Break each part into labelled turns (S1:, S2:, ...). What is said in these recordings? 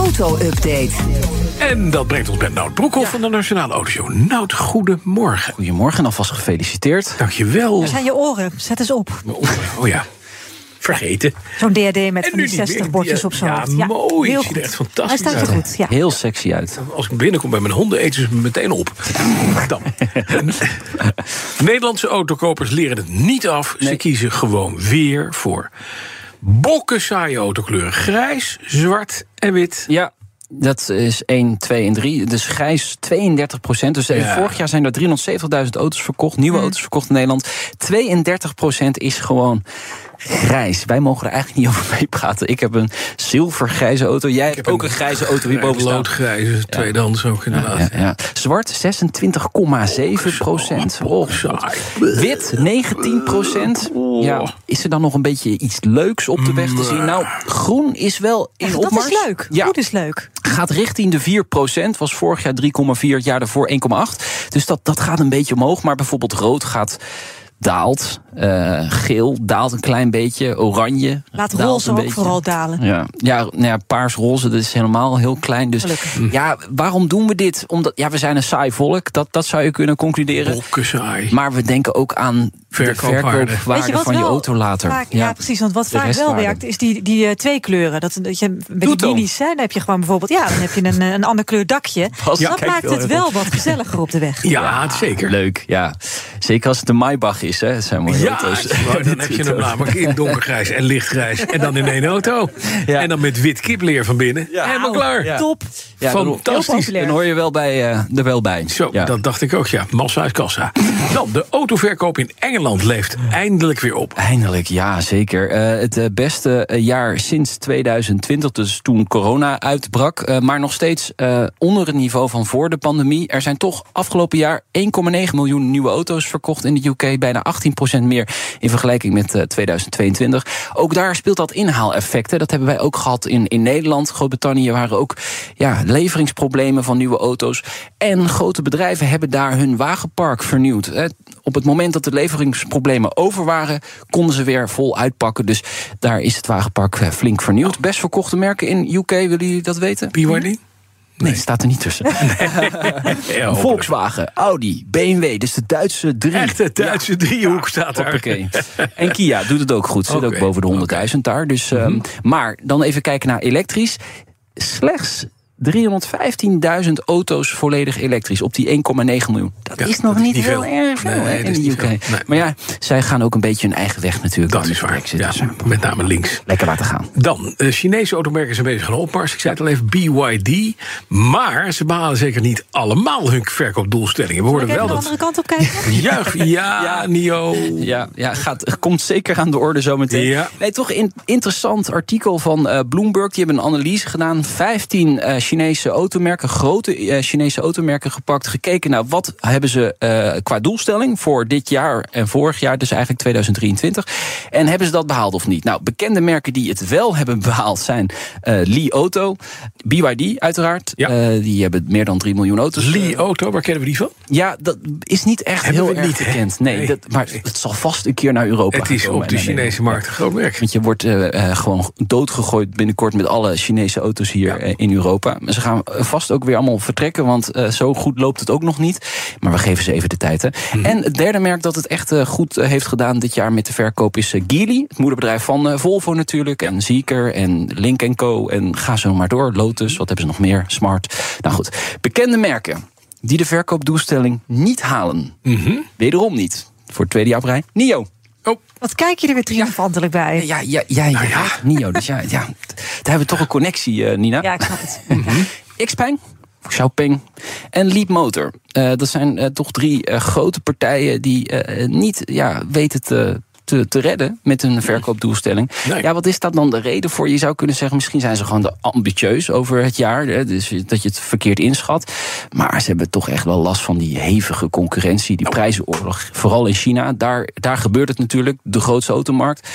S1: Auto-update.
S2: En dat brengt ons bij Nout Broekhoff van de Nationale Autoshow. Nout, goedemorgen.
S3: Goedemorgen, alvast gefeliciteerd.
S2: Dankjewel.
S4: Er zijn je oren. Zet eens op.
S2: Oh, oh ja, vergeten.
S4: Zo'n DRD met van
S2: nu
S4: die
S2: die
S4: 60
S2: weer-
S4: bordjes
S2: die-
S4: op zo'n
S2: ja,
S4: hoofd.
S2: mooi.
S4: Heel
S2: Ziet er
S4: goed.
S2: echt fantastisch
S4: Hij staat er
S2: uit.
S4: goed. Ja.
S3: Heel sexy uit.
S2: Als ik binnenkom bij mijn honden, eten ze me meteen op. Dan. Nederlandse autokopers leren het niet af. Ze kiezen gewoon weer voor bokken saaie autokleuren. Grijs, zwart en wit.
S3: Ja, dat is 1, 2 en 3. Dus grijs 32 procent. Dus eh,
S2: Ja.
S3: vorig jaar zijn er 370.000 auto's verkocht. Nieuwe auto's verkocht in Nederland. 32 procent is gewoon grijs. Wij mogen er eigenlijk niet over meepraten. Ik heb een zilvergrijze auto. Jij hebt ook een, grijze auto hierboven staan.
S2: Loodgrijze, tweedehands ook inderdaad.
S3: Ja, ja. Zwart 26,7 procent. Oh,
S2: Saai.
S3: Wit 19 procent. Ja, is er dan nog een beetje iets leuks op de weg te zien? Nou, groen is wel in
S4: Echt, dat
S3: opmars.
S4: is leuk.
S3: Ja,
S4: Goed is leuk.
S3: gaat richting de 4 Was vorig jaar 3,4, het jaar daarvoor 1,8. Dus dat, dat gaat een beetje omhoog. Maar bijvoorbeeld rood gaat... Daalt, Eh, geel daalt een klein beetje, oranje.
S4: Laat
S3: daalt
S4: roze
S3: een
S4: ook
S3: beetje.
S4: vooral dalen.
S3: Ja, ja, nou ja paars-roze, dat is helemaal heel klein. Dus ja, waarom doen we dit? Omdat ja, we zijn een saai volk, dat, dat zou je kunnen concluderen.
S2: Bokken saai.
S3: Maar we denken ook aan
S2: Verkoopwaarde.
S3: de verkoopwaarde van je
S4: wel
S3: auto later.
S4: Vaak, ja. precies. Want wat
S3: De
S4: vaak wel
S3: restwaarde.
S4: werkt, is die, die eh, twee kleuren. Dat, dat je, bij
S3: Doe het
S4: die
S3: dan.
S4: minis hè, dan heb je gewoon bijvoorbeeld... Ja, dan heb je een, eh, een ander kleur dakje.
S3: Bas,
S4: dat
S3: kijk
S4: maakt
S3: heel
S4: het
S3: even
S4: wel wat gezelliger op de weg.
S2: Ja, zeker.
S3: Leuk, ja. Zeker als het een Maybach is, hè. Het zijn mooie
S2: Ja,
S3: auto's.
S2: maar dan heb je hem namelijk in donkergrijs en lichtgrijs. En dan in één auto.
S3: Ja.
S2: En dan met wit kipleer van binnen. Helemaal klaar.
S4: Top.
S3: Ja, daarom-
S2: Fantastisch.
S3: Dan hoor je wel bij, eh, er wel bij.
S2: Zo,
S3: Ja.
S2: dat dacht ik ook, ja. Massa uit kassa. Dan, de autoverkoop in Engeland leeft eindelijk weer op.
S3: Eindelijk, ja, zeker. Eh, het eh, beste eh, jaar sinds 2020, dus toen corona uitbrak. eh, maar nog steeds eh, onder het niveau van voor de pandemie. Er zijn toch afgelopen jaar 1,9 miljoen nieuwe auto's verkocht in de UK. Bijna 18% meer in vergelijking met eh, 2022. Ook daar speelt dat inhaaleffect. Hè. Dat hebben wij ook gehad in, in Nederland. Groot-Brittannië waren ook ja, leveringsproblemen van nieuwe auto's. En grote bedrijven hebben daar hun wagenpark vernieuwd. hè op het moment dat de leveringsproblemen over waren, konden ze weer vol uitpakken. Dus daar is het wagenpark eh, flink vernieuwd. Best verkochte merken in UK, willen jullie dat weten?
S2: BYD?
S3: Nee, staat er niet tussen.
S2: Ja, hopelijk.
S3: Volkswagen, Audi, BMW, dus de Duitse drie.
S2: Echt, de Duitse driehoek staat daar.
S3: Hoppakee. En Kia doet het ook goed. Zit
S2: Oké, Mhm.
S3: ook boven de 100.000 daar. Dus, ehm, Maar dan even kijken naar elektrisch. Slechts 315.000 auto's volledig elektrisch op die 1,9 miljoen. Dat
S2: Ja,
S3: is nog
S2: dat is
S3: niet
S2: niet
S3: heel
S2: veel.
S3: erg veel
S2: Nee,
S3: hè,
S2: dat
S3: in
S2: is
S3: de
S2: niet
S3: UK.
S2: veel. Nee.
S3: Maar ja, zij gaan ook een beetje hun eigen weg natuurlijk.
S2: Dat
S3: met
S2: is
S3: de
S2: waar.
S3: Brexit.
S2: Ja,
S3: Dus
S2: met name links.
S3: lekker laten gaan.
S2: Dan, eh, Chinese automerken zijn bezig aan een opmars. Ik zei het al even, BYD. Maar ze behalen zeker niet allemaal hun verkoopdoelstellingen. We hoorden
S4: Kijk
S2: wel
S4: naar de
S2: dat...
S4: andere kant op kijken.
S2: Juich, ja, Nio.
S3: Ja, ja gaat, komt zeker aan de orde zometeen.
S2: Ja.
S3: Nee, toch een interessant artikel van eh, Bloomberg. Die hebben een analyse gedaan. 15 eh, Chinese automerken, grote eh, Chinese automerken gepakt. Gekeken naar wat hebben ze eh, qua doelstelling voor dit jaar en vorig jaar. Dus eigenlijk 2023. En hebben ze dat behaald of niet? Nou, bekende merken die het wel hebben behaald zijn eh, Li Auto, BYD uiteraard.
S2: Ja.
S3: Eh, die hebben meer dan 3 miljoen auto's. eh,
S2: Li Auto, waar kennen we die van?
S3: Ja, dat is niet echt
S2: Hebben
S3: heel
S2: we
S3: erg
S2: niet, hè?
S3: bekend. Nee,
S2: Nee.
S3: dat, maar het zal vast een keer naar Europa
S2: Het is
S3: komen
S2: op de
S3: en naar Nederland.
S2: Chinese markt een groot merk.
S3: Want je wordt eh, eh, gewoon doodgegooid binnenkort met alle Chinese auto's hier eh, in Europa. Maar ze gaan eh, vast ook weer allemaal vertrekken, want eh, zo goed loopt het ook nog niet. Maar we geven ze even de tijd. Hè. En het derde merk dat het echt eh, goed eh, heeft gedaan dit jaar met de verkoop is eh, Geely. Het moederbedrijf van eh, Volvo natuurlijk. En Zeekr en Link Co. En ga zo maar door. Lotus, wat hebben ze nog meer? Smart. Nou goed, bekende merken die de verkoopdoelstelling niet halen. Wederom niet. Voor het tweede jaar op rij. NIO.
S2: Oh,
S4: Wat kijk je er weer triomfantelijk bij.
S3: Ja, ja, ja, ja,
S2: Nou ja.
S3: ja. Nio. Dus ja, ja, daar hebben we toch een connectie, eh, Nina.
S4: Ja, ik snap het.
S3: Xpeng, Xiaopeng en Leap Motor. Eh, dat zijn eh, toch drie eh, grote partijen die eh, niet ja, weten te, te, te redden met hun verkoopdoelstelling.
S2: Nee.
S3: Ja, wat is dat dan de reden voor? Je zou kunnen zeggen, misschien zijn ze gewoon te ambitieus over het jaar. Hè, dus dat je het verkeerd inschat. Maar ze hebben toch echt wel last van die hevige concurrentie, die prijzenoorlog. Vooral in China, daar, daar gebeurt het natuurlijk, de grootste automarkt.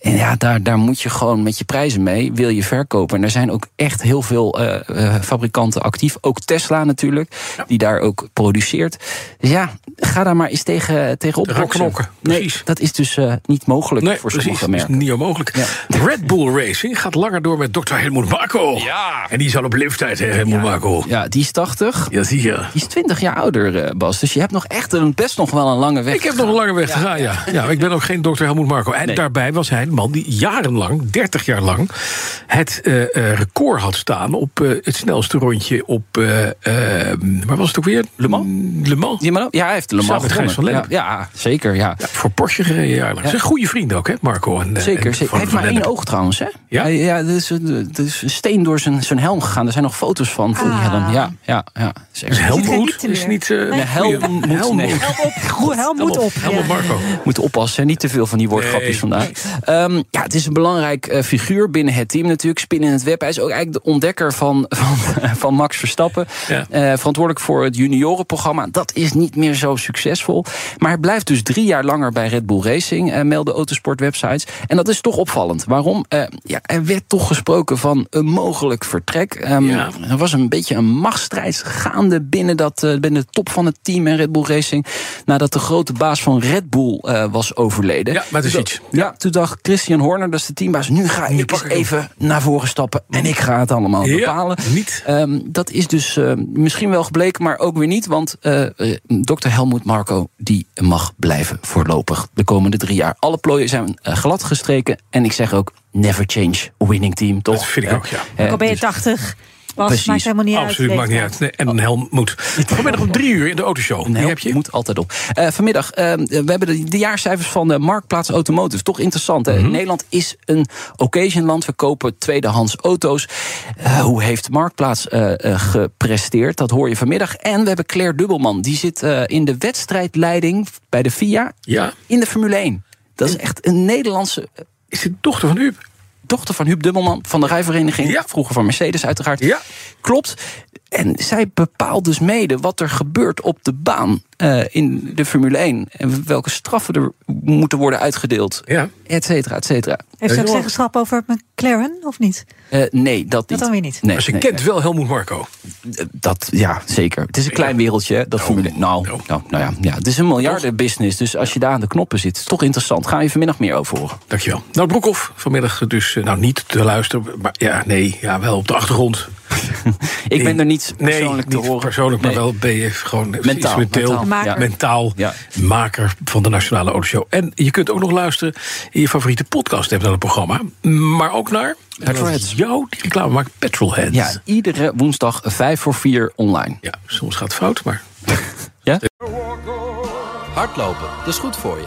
S3: En ja, daar, daar moet je gewoon met je prijzen mee, wil je verkopen. En er zijn ook echt heel veel eh, eh, fabrikanten actief. Ook Tesla natuurlijk, die daar ook produceert. Dus ja, ga daar maar eens tegen, tegen
S2: Gaan
S3: opboksen.
S2: knokken,
S3: Nee,
S2: precies.
S3: dat is dus eh, niet mogelijk
S2: Nee,
S3: voor
S2: precies. Dus
S3: sommige
S2: Dat is
S3: merken.
S2: niet onmogelijk. Red Bull Racing gaat langer door met Dr. Helmoet Marco. Ja. En die is al op leeftijd, hè, Helmoet Marco.
S3: Ja, die is 80.
S2: Ja, zie je.
S3: Die is 20 jaar ouder, eh, Bas. Dus je hebt nog echt een, best nog wel een lange weg.
S2: Ik heb nog een lange weg te gaan, ja. ja. maar ik ben ook geen dokter Helmoet Marco. En
S3: Nee.
S2: daarbij was hij de man die jarenlang, 30 jaar lang... het eh, eh, record had staan op eh, het snelste rondje op... eh, eh, waar was het ook weer? Le
S3: Mans?
S2: Le Mans.
S3: Ja, maar- ja, hij heeft de Le Mans
S2: Samen met Gijs
S3: gewonnen.
S2: van
S3: ja, ja, zeker, ja.
S2: Ja, voor Porsche gereden jarenlang. Zijn goede vrienden ook, hè, Marco? En, eh,
S3: Zeker,
S2: en
S3: zeker.
S2: Van-
S3: Hij heeft
S2: Van
S3: maar één
S2: Lennep.
S3: oog trouwens, hè?
S2: Ja?
S3: Hij- ja er, is, een- er is een steen door zijn, zijn helm gegaan. Er zijn nog foto's van, van die
S4: Ah.
S3: helm. Ja, ja, ja. Zeker.
S2: Dus Helmoet
S4: niet
S2: is
S4: meer.
S2: niet... eh,
S3: De helm moet, nee.
S4: Helm op. Goed, helm moet op. ja.
S2: Helmoet Marco.
S3: moet oppassen. hè. Niet te veel van die woordgrapjes
S2: Nee.
S3: vandaag. Ehm, ja, het is een belangrijk eh, figuur binnen het team natuurlijk. Spin in het web. Hij is ook eigenlijk de ontdekker van, van, van Max Verstappen.
S2: Ja.
S3: Eh, verantwoordelijk voor het juniorenprogramma. Dat is niet meer zo succesvol. Maar hij blijft dus drie jaar langer bij Red Bull Racing. eh, melden autosportwebsites. En dat is toch opvallend. Waarom? Eh, ja, er werd toch gesproken van een mogelijk vertrek. Ehm,
S2: Ja.
S3: er was een beetje een machtsstrijd gaande binnen, dat, eh, binnen de top van het team en Red Bull Racing. Nadat de grote baas van Red Bull eh, was overleden.
S2: Ja, maar het is
S3: Toen-
S2: iets.
S3: Ja, toen dacht Christian Horner, dat is de teambaas. Nu ga ik
S2: pak
S3: eens
S2: ik hem.
S3: even naar voren stappen en ik ga het allemaal
S2: Ja,
S3: bepalen.
S2: niet.
S3: Ehm, dat is dus eh, misschien wel gebleken, maar ook weer niet. Want eh eh, dokter Helmoet Marco, die mag blijven voorlopig de komende drie jaar. Alle plooien zijn eh, glad gestreken. En ik zeg ook, never change winning team, toch?
S2: Dat vind ik
S3: Eh,
S2: ook, ja.
S3: eh,
S4: Ook al ben je
S3: dus-
S4: 80. Was,
S3: Precies.
S4: maakt helemaal niet uit.
S2: Absoluut, maakt niet uit. Nee,
S3: Oh.
S2: en een helm moet. Vanmiddag om drie uur in de autoshow. Die
S3: Nee,
S2: heb je?
S3: Moet altijd op. Eh, vanmiddag, eh, we hebben de, de jaarcijfers van de Marktplaats Automotive. Toch interessant, hè? Nederland is een occasionland. We kopen tweedehands auto's. Eh, hoe heeft Marktplaats eh, eh, gepresteerd? Dat hoor je vanmiddag. En we hebben Claire Dubbelman. Die zit eh, in de wedstrijdleiding bij de FIA
S2: Ja.
S3: in de Formule 1. Dat is echt een Nederlandse eh,
S2: Is het dochter van Huub?
S3: dochter van Huub Dubbelman van de rijvereniging.
S2: Ja.
S3: Vroeger van Mercedes uiteraard.
S2: Ja.
S3: Klopt. En zij bepaalt dus mede wat er gebeurt op de baan eh, in de Formule 1. En welke straffen er moeten worden uitgedeeld.
S2: Ja.
S3: Et cetera, et cetera.
S4: Heeft
S2: Ja,
S4: ze ook
S2: joh.
S4: zeggenschap over McLaren of niet?
S3: Eh, nee, dat niet.
S4: dan weer niet.
S3: Nee,
S2: Maar ze
S3: nee,
S2: kent wel Helmoet Marco.
S3: nee. Dat, ja, zeker. Het is een klein wereldje, hè, dat Formule 1. Nou,
S2: nou.
S3: nou, nou ja, ja, het is een miljardenbusiness. Dus als je daar aan de knoppen zit, is toch interessant. Ga je vanmiddag meer over horen.
S2: Dankjewel. Nou, Broekhoff, vanmiddag dus, eh, nou niet te luisteren, maar ja, nee, ja, wel op de achtergrond.
S3: Ik ben er niet
S2: Nee,
S3: persoonlijk
S2: niet
S3: te horen.
S2: persoonlijk, maar
S3: Nee.
S2: wel ben je gewoon
S3: Mentaal,
S2: mentaal,
S3: mentaal,
S2: mentaal,
S4: ja.
S3: Ja.
S2: maker van de Nationale Autoshow. En je kunt ook nog luisteren in je favoriete podcast hebt dan het programma, maar ook naar
S3: Petrolheads.
S2: jou die reclame maakt, Petrolheads.
S3: Ja, iedere woensdag vijf voor vier online.
S2: ja, soms gaat het fout, maar
S5: Hardlopen, dat is goed voor je.